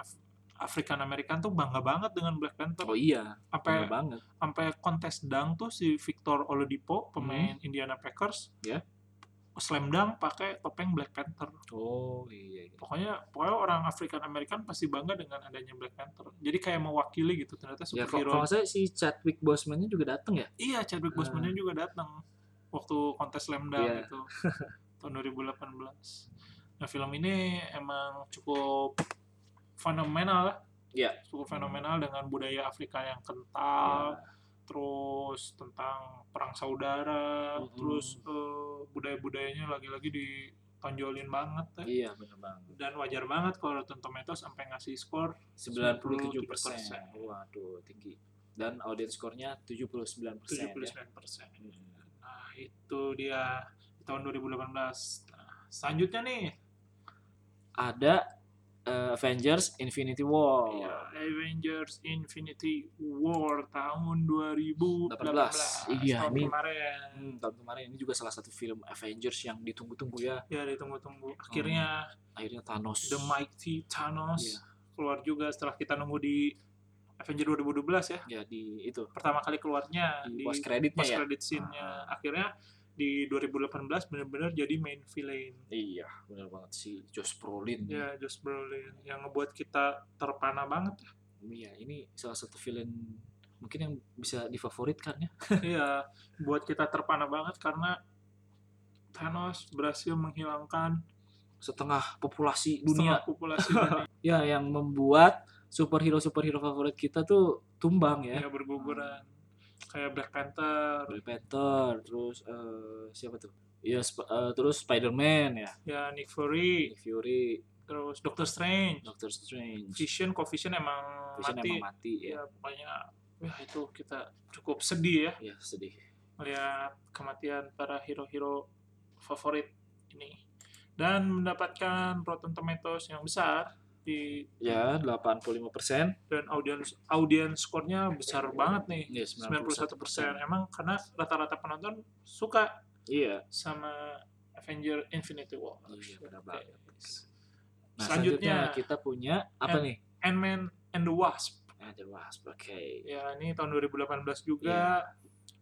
African American tuh bangga banget dengan Black Panther
oh iya,
sampai
bener banget.
sampai kontes dang tuh si Victor Oladipo pemain Indiana Packers
Hmm. Ya.
slam dunk pakai topeng Black Panther
Oh iya, iya.
pokoknya pokoknya orang African American pasti bangga dengan adanya Black Panther jadi kayak mewakili gitu ternyata
Ya kalau
superhero
kalau nggak salah si Chadwick Boseman-nya juga datang ya?
iya Chadwick Boseman-nya juga datang waktu kontes slam dunk
Iya.
itu tahun 2018 nah film ini emang cukup fenomenal lah
Iya.
cukup fenomenal dengan budaya Afrika yang kental terus tentang perang saudara,
Mm-mm.
terus eh, budaya-budayanya lagi-lagi ditonjolin banget
Iya,
ya.
iya bener banget.
Dan wajar banget kalau Rotten Tomatoes sampai ngasih skor
97
97%.
Waduh, tinggi. Dan audience score-nya 79 ya.
79%.
Hmm.
Nah, itu dia di tahun 2018. Nah, selanjutnya nih,
Ada eh, Avengers Infinity War.
ya, Avengers Infinity War tahun 2018.
18. Iya,
Nah, tahun
ini-
kemarin.
Hmm, tahun kemarin ini juga salah satu film Avengers yang ditunggu-tunggu ya.
Ya, ditunggu-tunggu. Akhirnya
Akhirnya Thanos.
The Mighty Thanos
Hmm. Iya.
keluar juga setelah kita nunggu di Avenger 2012 ya
Ya di itu
pertama kali keluarnya
di
di
post
post
creditnya ya.
credit scene-nya akhirnya di 2018 benar-benar jadi main villain
Iya, benar banget sih Josh Brolin.
ya Josh Brolin yang ngebuat kita terpana banget (laughs)
Iya, ini salah satu film mungkin yang bisa difavoritkan ya.
ya buat kita terpana banget karena Thanos berhasil menghilangkan
Setengah populasi
dunia
dunia.
populasi dunia
(laughs) Ya, yang membuat superhero-superhero favorit kita tuh tumbang ya.
ya berguguran kayak Black Panther
Black Panther, terus eh, siapa tuh? Ya, Sp- eh, terus Spider-Man ya.
ya Nick Fury
Nick Fury,
terus Doctor Strange
Doctor Strange.
Vision, Covision emang
Vision
mati.
emang mati ya.
Ya, pokoknya ya itu kita cukup sedih ya
Ya, sedih.
melihat kematian para hero-hero favorit ini dan mendapatkan Rotten Tomatoes yang besar di
Ya, 85%.
dan audience audience skornya besar banget nih
Ya,
91 persen
91%.
emang karena rata-rata penonton suka
Iya.
sama Avenger Infinity War.
Iya, benar
Oke. eh.
banget. Nah, selanjutnya, kita punya apa
Ant-
nih?
Ant-Man and the Wasp.
Ah, The Wasp, oke.
ya ini tahun 2018 juga
Iya.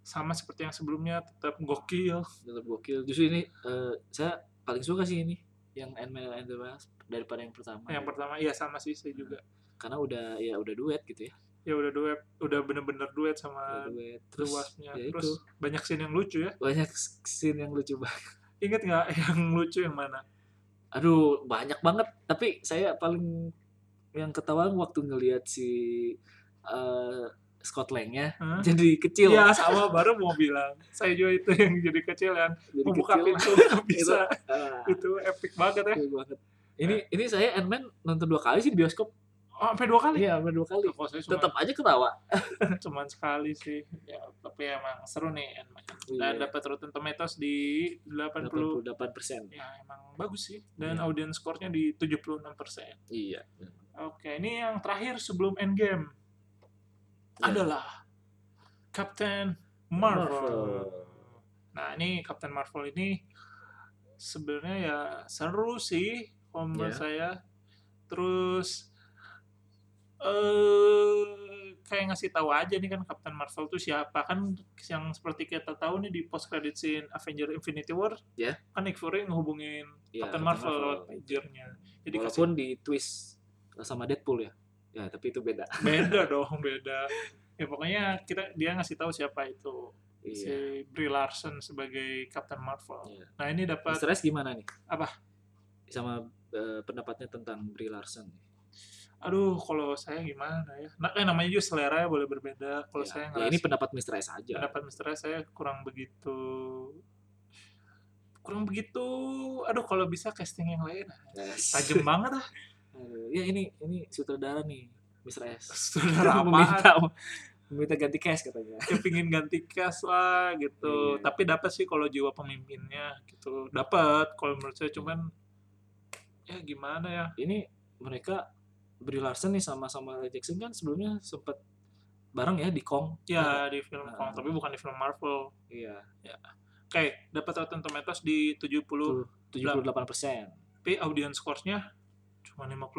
sama seperti yang sebelumnya tetap gokil
tetap gokil. Justru ini eh, saya paling suka sih ini yang Ant-Man and the Wasp daripada yang pertama.
yang pertama ya sama sih saya juga
Karena udah ya udah duet gitu ya.
ya udah duet udah bener-bener duet
Udah
sama Kan,
duet.
The
Terus
Wasp-nya.
ya
terus
itu.
banyak scene yang lucu ya
banyak scene yang lucu banget.
inget nggak (laughs) yang lucu yang mana
Aduh, banyak banget. Tapi saya paling yang ketawa waktu ngelihat si eh Scott Lang-nya
Hah?
jadi kecil.
Iya sama baru mau bilang saya juga itu yang jadi kecil yang
jadi
membuka
kecil.
pintu
(laughs)
nggak bisa
Ah,
itu epic banget ya
kecil banget. Ini ini saya Ant-Man nonton dua kali sih di bioskop.
Oh, sampai Nah. dua kali.
Iya, sampai dua kali.
Kalau saya cuma
Tetap aja ketawa.
cuman sekali sih. Ya, tapi emang seru nih.
Iya.
Dan dapat Rotten Tomatoes di 80.
88%.
Ya, emang bagus sih. Dan
Iya.
audience score-nya di 76%.
Iya.
Oke, ini yang terakhir sebelum Endgame
Iya.
Ya.
adalah Captain Marvel.
Marvel.
Nah, ini Captain Marvel ini sebenarnya ya seru sih kalau menurut
Ya.
saya. Terus eh kayak ngasih tahu aja nih kan Captain Marvel tuh siapa kan yang seperti kita tahu nih di post credit scene Avenger Infinity War
Ya.
kan Nick Fury ngehubungin
Iya,
Captain
Captain
Marvel,
Marvel.
lewat pagernya jadi kasih
Walaupun di twist sama Deadpool ya. Ya, tapi itu beda.
beda dong beda ya pokoknya kita dia ngasih tahu siapa itu si
Iya.
Brie Larson sebagai Captain Marvel
Iya.
nah ini dapat
Mister S gimana nih?
Apa?
Sama eh, pendapatnya tentang Brie Larson.
aduh kalau saya gimana ya nah eh, namanya juga selera ya, boleh berbeda kalau
Ya,
saya
ya
ngerasa
ini ya. pendapat Mister S aja.
pendapat Mister S saya kurang begitu kurang begitu aduh kalau bisa casting yang lain tajem banget ah
(laughs) Aduh, ya ini ini sutradara nih Mister S.
saudara apaan
(laughs) meminta meminta ganti cast katanya.
ya pingin ganti cast lah gitu
Iya.
tapi dapat sih kalau jiwa pemimpinnya gitu dapat kalau menurut saya cuman ya gimana ya
Ini mereka Brie Larson nih sama sama Jackson kan sebelumnya sempat bareng ya di Kong.
ya di film
Ah.
Kong tapi bukan di film Marvel
Iya.
oke dapat Rotten Tomatoes di 70
78 persen.
tapi audience score-nya cuma 56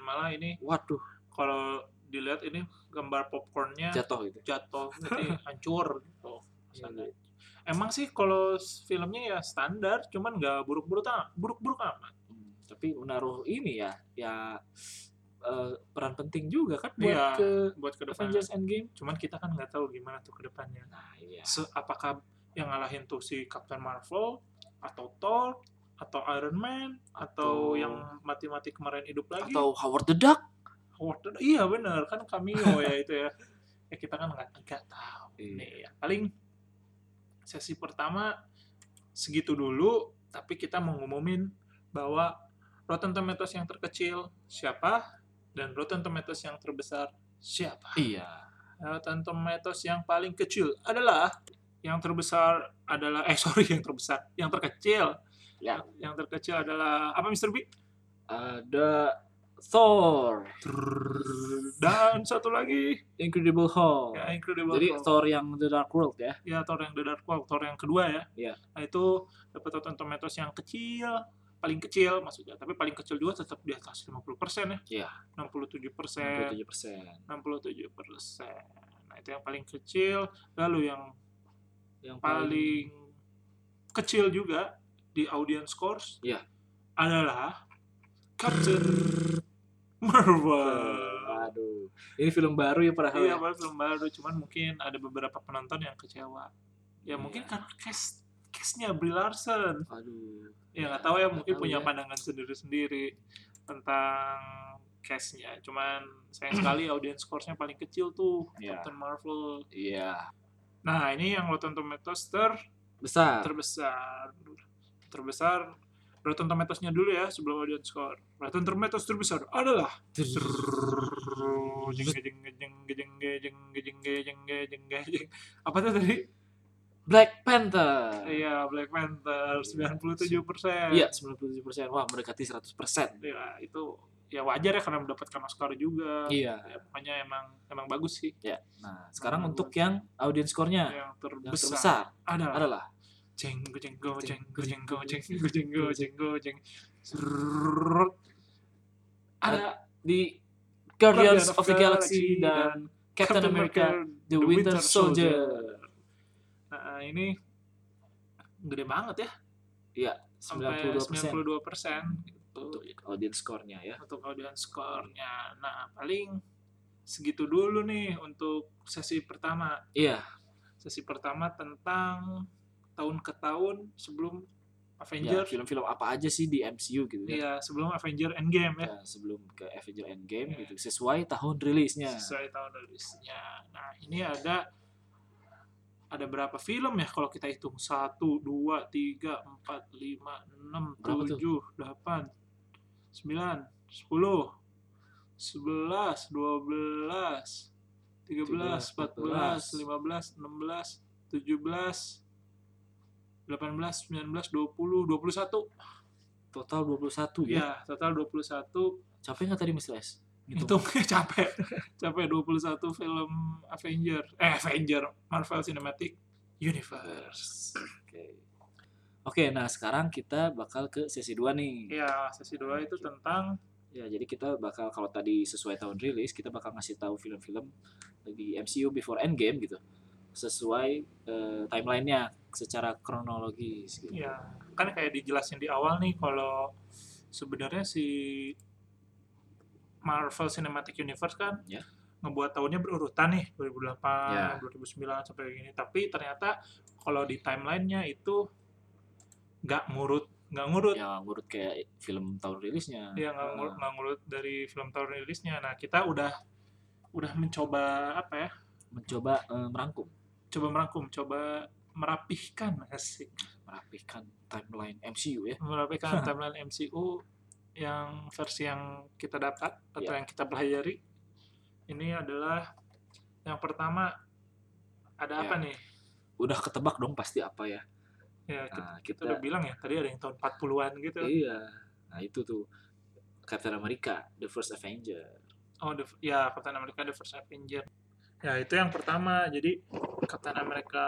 malah ini
Waduh,
kalau dilihat ini gambar popcornnya
jatuh gitu.
jatuh
(laughs)
jadi hancur gitu
Iya,
Sana. emang sih kalau filmnya ya standar cuman nggak buruk-buruk amat buruk-buruk amat
Hmm, Tapi menaruh ini ya, ya eh, peran penting juga kan buat
Iya.
ke
buat ke depan
Avengers Endgame.
cuman kita kan nggak tahu gimana tuh ke depannya
Nah, iya.
Se- apakah yang ngalahin tuh si Captain Marvel atau Thor atau Iron Man atau,
Atau-
yang mati-mati kemarin hidup lagi
Atau Howard the Duck.
What the- iya bener kan cameo ya itu ya (laughs) ya kita kan nggak nggak tahu
Iya.
nih ya. paling sesi pertama segitu dulu tapi kita mengumumin bahwa Rotten Tomatoes yang terkecil siapa dan Rotten Tomatoes yang terbesar siapa
Iya.
Rotten Tomatoes Eh, yang paling kecil adalah yang terbesar adalah eh (laughs) sorry yang terbesar yang terkecil
Ya.
yang terkecil adalah apa Mr. B
Ada Thor,
dan satu lagi
Incredible Hulk.
ya Incredible
Jadi
Hulk.
Thor yang The Dark World ya.
ya Thor yang The Dark World Thor yang kedua ya
Iya.
nah itu dapat Rotten Tomatoes yang kecil paling kecil maksudnya tapi paling kecil juga tetap di atas 50% ya
Iya.
67%
27 persen.
67% nah itu yang paling kecil lalu yang
Yang
paling kecil juga di audience scores
Iya.
adalah Captain Marvel.
Aduh, ini film baru ya padahal.
Iya,
ya?
padahal film baru, cuman mungkin ada beberapa penonton yang kecewa. Ya
Iya.
mungkin karena cast castnya Brie Larson.
Aduh.
Ya nggak
Iya,
tahu ya,
nggak
mungkin
tahu
punya
ya.
pandangan sendiri-sendiri tentang castnya. Cuman sayang sekali audience scoresnya paling kecil tuh
Iya.
Captain Marvel.
Iya.
Nah ini yang Rotten Tomatoes ter
Besar.
terbesar terbesar Rotten Tomatoes-nya dulu ya sebelum audience score. Rotten Tomatoes terbesar adalah jeng jeng jeng jeng jeng jeng jeng jeng jeng apa tuh tadi?
Black Panther.
Iya Black Panther 97 persen. Iya,
Iya, 97 persen. Wah, mendekati 100 persen.
itu ya wajar ya karena mendapatkan Oscar juga.
Iya.
Ya, pokoknya emang emang bagus sih.
Nah, sekarang untuk yang audience score-nya
Yang
Nah, yang
terbesar,
terbesar
adalah
adalah
jeng jeng jeng jeng jeng jeng jeng jeng ada
di Guardians of the Galaxy dan Captain America The Winter Soldier.
Nah, ini gede banget ya
Iya,
sampai
92 persen
92 persen gitu
untuk audience score-nya ya.
untuk audience score-nya. Nah, paling segitu dulu nih untuk sesi pertama.
Iya.
Sesi pertama tentang tahun ke tahun sebelum
Ya,
Avengers
film-film apa aja sih di MCU gitu ya.
Iya, sebelum Avenger Endgame ya.
Ya, sebelum ke Avenger Endgame
Ya.
gitu sesuai tahun rilisnya.
Sesuai tahun rilisnya. Nah, ini ada ada berapa film ya kalau kita hitung? 1 2 3 4 5 6
Berapa tuh?
7 8 9 10 11 12 13 14 15 16 17 18 19 20 21 22 23 24 25 26 27 28 29 30 31 32 33 34 35 36 37 38 39 40 41 42 43 44 45 46 47 48 49 50 51 52 53 54 55 56 57 58 59 60 61 62 63 64 65 66 67 68 69 70 71 72 73 74 75 76 77 78 79 80 81 82 83 84 85 86 87 88 89 90 91 92 93 94 95 96 97 98 99 100 101 102 103 104 105 106 107 108 109 110 111 112 113 114 115 116 117 118 119 120 121 122 123 124 125 126 127 128 129 130 131 132 133 134 135 136 137 138 139 140 141 142 143 144 145 146 147 148 149 150 151 152 153 154 155 156 157 158 11, 12, 13, 14, 15, 16, 17, 18, 19, 20, 21.
Total 21 ya.
Ya, total 21.
Capek nggak tadi Mr. S? Gitu.
Hitungnya (laughs) capek. capek 21 film Avenger. Eh, Avenger. Marvel Cinematic Universe.
Oke. Oke, nah sekarang kita bakal ke sesi 2 nih.
Ya, sesi 2 itu tentang
Ya, jadi kita bakal kalau tadi sesuai tahun rilis, kita bakal ngasih tahu film-film di MCU before Endgame gitu. Sesuai eh, timelinenya secara kronologis gitu.
ya kan kayak dijelasin di awal nih kalau sebenarnya si Marvel Cinematic Universe kan
Ya.
ngebuat tahunnya berurutan nih 2008,
Ya.
2009 sampai gini. Tapi ternyata kalau di timelinenya itu nggak ngurut, nggak ngurut.
Ya, ngurut kayak film tahun rilisnya. eh,
Dia Iya, nggak ngurut, nggak ngurut dari film tahun rilisnya. Nah kita udah udah mencoba apa ya?
Mencoba eh, merangkum,
Coba merangkum, coba merapihkan asik.
merapihkan timeline MCU ya.
merapihkan timeline MCU yang versi yang kita dapat atau yang kita pelajari ini adalah yang pertama ada
Ya.
apa nih
Udah ketebak dong pasti apa ya.
ya kita,
Nah,
kita udah
kita
bilang ya tadi ada yang tahun 40-an gitu
Iya. Nah, itu tuh Captain America, The First Avenger.
oh the, ya Captain America The First Avenger ya itu yang pertama jadi Captain America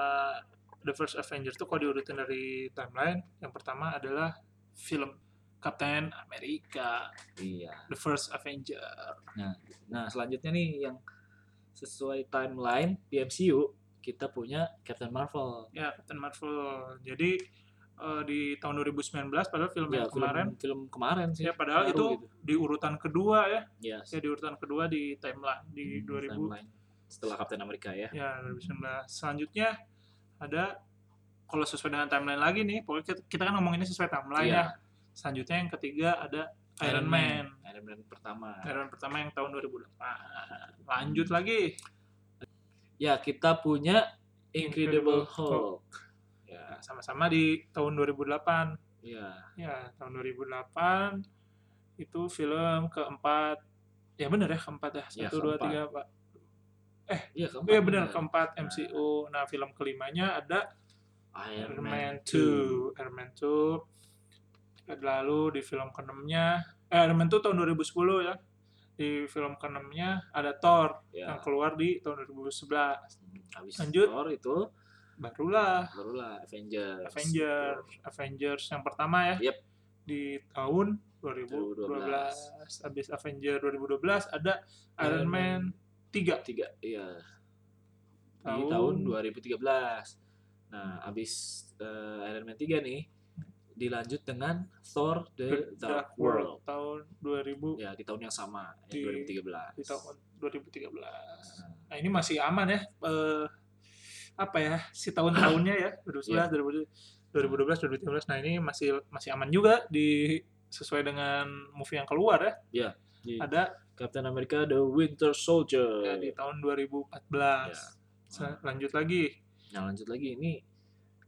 The First Avenger tuh kalau diurutin dari timeline yang pertama adalah film Captain America
Iya.
The First Avenger
Nah, selanjutnya nih yang sesuai timeline di MCU kita punya Captain Marvel.
Ya, Captain Marvel. Jadi eh, di tahun 2019 padahal film
Ya,
yang kemarin
film, film kemarin sih.
ya padahal
baru
itu
gitu.
di urutan kedua ya.
Ya,
Ya di urutan kedua di timeline di 2000
Hmm, timeline setelah Captain America ya.
ya 2019. Selanjutnya ada kalau sesuai dengan timeline lagi nih, pokoknya kita, kita kan ngomonginnya sesuai timeline
Iya.
ya. Selanjutnya yang ketiga ada Iron, Man.
Iron Man pertama.
Iron Man pertama yang tahun 2008. Lanjut lagi.
Ya, kita punya
Incredible
Incredible Hulk. Ya,
Nah, sama-sama di tahun 2008.
ya.
Ya, tahun 2008 itu film keempat. Ya bener ya, keempat ya.
Ya,
Satu, dua,
keempat.
tiga, Pak.
Iya, keempat.
Iya bener,
bener.
keempat MCU. Nah, film kelimanya ada
Iron
Iron Man
Man
2. Iron Man 2. Lalu di film keenamnya, eh, Iron Man 2 tahun 2010 ya. Di film keenamnya ada Thor
Ya.
yang keluar di tahun 2011.
Habis
Nah. Lanjut.
Thor itu
Barulah
barulah Avengers.
Avengers. Avengers yang pertama ya.
Yep.
Di tahun 2012.
2012.
Habis Avenger 2012 ada Iron
Iron
Man 3
tiga iya di
Tahun-
tahun 2013 nah abis eh, Iron Man 3 nih dilanjut dengan Thor the, Dark, World
tahun 2000
ya di tahun yang sama
Di-
yang 2013
di tahun 2013.
Nah,
Nah, ini masih aman ya. Eh apa ya? Si tahun-tahunnya
(coughs)
ya,
Iya.
2011, 2012, 2013. Nah, ini masih masih aman juga di sesuai dengan movie yang keluar ya.
di
Ada
Iya. Captain America the Winter Soldier
eh, di tahun 2014.
Ya.
Sa- Lanjut lagi.
nah lanjut lagi ini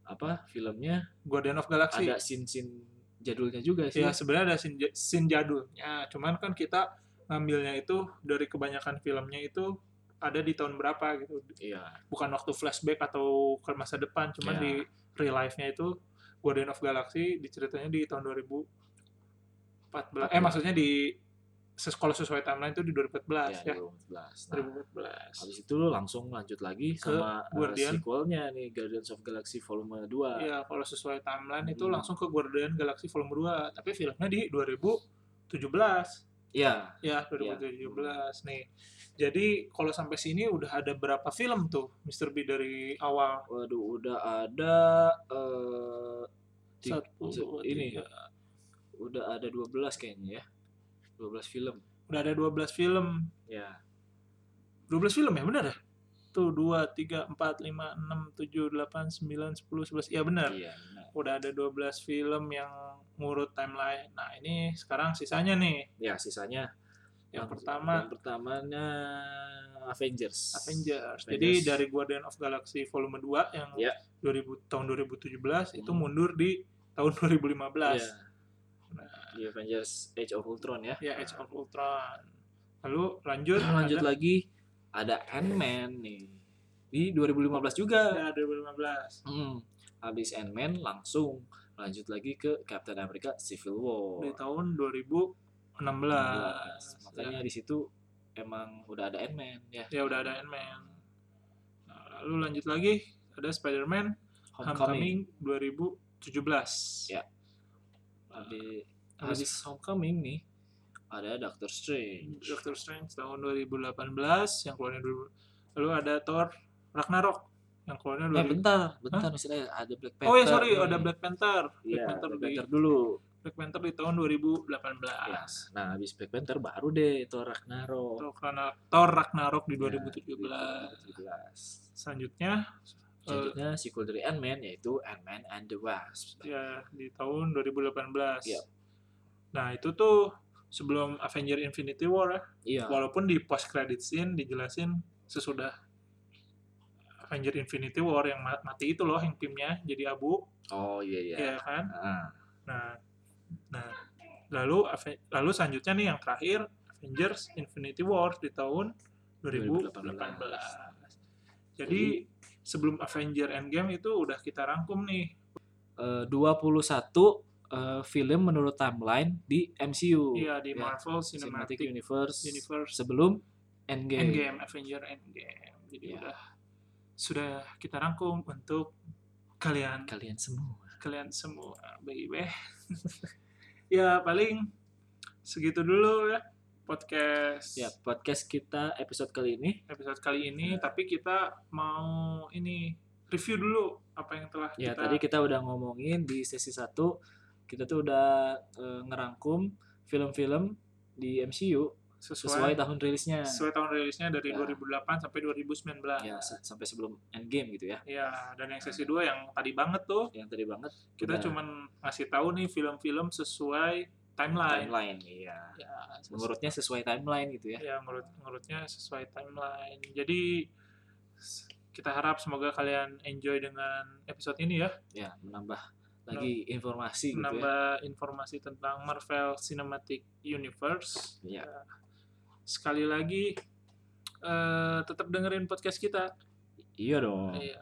apa filmnya
Guardian of Galaxy.
ada scene scene jadulnya juga sih
Ya sebenarnya ada sin, sin jadulnya, cuman kan kita ngambilnya itu dari kebanyakan filmnya itu ada di tahun berapa gitu,
iya
bukan waktu flashback atau ke masa depan, cuman
Ya.
di real life-nya itu Guardian of Galaxy diceritanya di tahun 2014. Eh
14.
maksudnya di ses- kalau sesuai timeline itu di 2014 ya.
ya, 2014 Nah,
2014.
Habis itu lu langsung lanjut lagi
Ke
sama eh,
Guardian.
sequelnya nih Guardians of Galaxy Volume 2.
Ya, kalau sesuai timeline itu
Nah. Hmm.
langsung ke Guardian Galaxy Volume 2, tapi filmnya di 2017.
Iya.
Ya, 2017 nih. Jadi kalau sampai sini udah ada berapa film tuh Mr. B dari awal?
Waduh udah ada eh Ti-
Satu,
se-
dua,
ini.
tiga.
udah ada 12 kayaknya ya. 12 film.
Udah ada 12 film.
Ya.
12 film ya, bener ya? Tuh, 2, 3, 4, 5, 6, 7, 8, 9, 10, 11. Iya bener.
Iya. benar.
Udah ada 12 film yang ngurut timeline. Nah, ini sekarang sisanya nih.
Ya, sisanya
Yang pertama,
yang pertamanya Avengers.
Avengers.
Avengers.
Jadi dari Guardian of Galaxy Volume 2 yang
Ya.
2000, tahun 2017 itu
Hmm.
mundur di tahun 2015. Nah.
Iya. Di Avengers Age of Ultron ya.
Ya, Age of Ultron. Lalu lanjut
lanjut
ada,
lagi ada Ant-Man nih di 2015 juga
ya, 2015.
Hmm, habis Ant-Man langsung lanjut lagi ke Captain America Civil War
Di tahun 2016.
16. makanya di situ emang udah ada Ant-Man ya
Ya udah ada Ant-Man. Nah, lalu lanjut lagi ada Spider-Man
Homecoming,
Homecoming, 2017.
Ya. Habis, habis Homecoming nih ada Doctor Strange
Doctor Strange tahun 2018 yang keluarnya dulu. Lalu ada Thor Ragnarok yang keluarnya
eh
2000.
bentar bentar misalnya ada Black Panther
oh ya sorry,
nih.
ada Black Panther. Black
Iya,
Panther
Black
di
Panther dulu
Black Panther di tahun 2018.
Ya, nah habis Black Panther baru deh Thor Ragnarok
Thor Ragnar- Thor Ragnarok di
Ya,
2017.
2017.
Selanjutnya eh,
Selanjutnya sequel dari Ant-Man yaitu Ant-Man and the Wasp.
ya di tahun 2018.
Iya.
Nah, itu tuh sebelum Avenger Infinity War ya.
Iya.
Walaupun di post credit scene dijelasin sesudah Avenger Infinity War yang ma- mati itu loh yang timnya jadi abu,
Oh iya iya.
ya kan?
Ah,
Nah, nah lalu Ave- lalu selanjutnya nih yang terakhir Avengers Infinity War di tahun 2018.
2018.
Jadi sebelum Avenger Endgame itu udah kita rangkum nih.
Eh, 21 eh, film menurut timeline di MCU.
Iya di
ya.
Marvel
Cinematic,
Cinematic,
Universe,
Universe
sebelum Endgame.
Endgame, Avenger Endgame. Jadi
Iya.
udah sudah kita rangkum untuk kalian
Kalian semua.
kalian semua baby (laughs) ya paling segitu dulu ya podcast
Ya, podcast kita episode kali ini
episode kali ini tapi kita mau ini review dulu apa yang telah
ya
kita
tadi kita udah ngomongin di sesi 1 kita tuh udah eh, ngerangkum film-film di MCU
sesuai
sesuai tahun rilisnya.
sesuai tahun rilisnya dari
Ya.
2008 sampai 2019 ya.
Ya, se- sampai sebelum Endgame gitu ya.
dan yang sesi 2 yang tadi banget tuh
Yang tadi banget
kita
udah-
cuman ngasih tahu nih film-film sesuai timeline,
timeline iya
ya sesuai-
menurutnya sesuai timeline gitu ya
ya menurut menurutnya sesuai timeline jadi s- kita harap semoga kalian enjoy dengan episode ini ya
ya menambah lagi informasi gitu ya
menambah informasi tentang Marvel Cinematic Universe
Iya.
sekali lagi eh, tetap dengerin podcast kita
iya dong
Iya.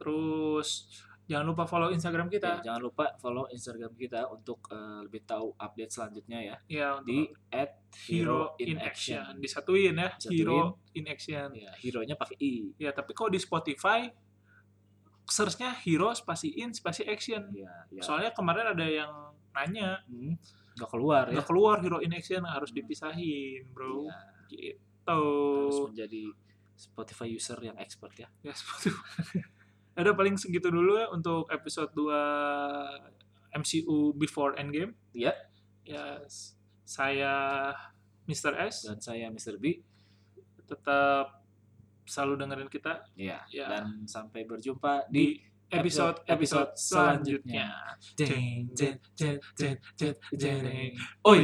terus jangan lupa follow Instagram
Ya,
kita
jangan lupa follow Instagram kita untuk eh, lebih tahu update selanjutnya ya
ya
di
untuk
at
Hero in Action disatuin ya Hero in Action
ya hero nya pakai i
ya tapi kok di Spotify searchnya Hero spasi in spasi action
ya, ya.
Soalnya kemarin ada yang nanya,
Hmm, nggak keluar ya
udah keluar Hero in Action harus dipisahin, bro.
Iya,
Gitu.
harus menjadi Spotify user yang expert ya
Ya, seperti (laughs) Ada paling segitu dulu ya untuk episode 2 MCU Before Endgame.
Iya.
Ya, s- saya Mr. S
dan saya Mr. B
tetap selalu dengerin kita
ya
Ya.
dan sampai berjumpa
di
di
episode episode
episode
selanjutnya.
Jeng, jeng, jeng, jeng, jeng, jeng.
Oi.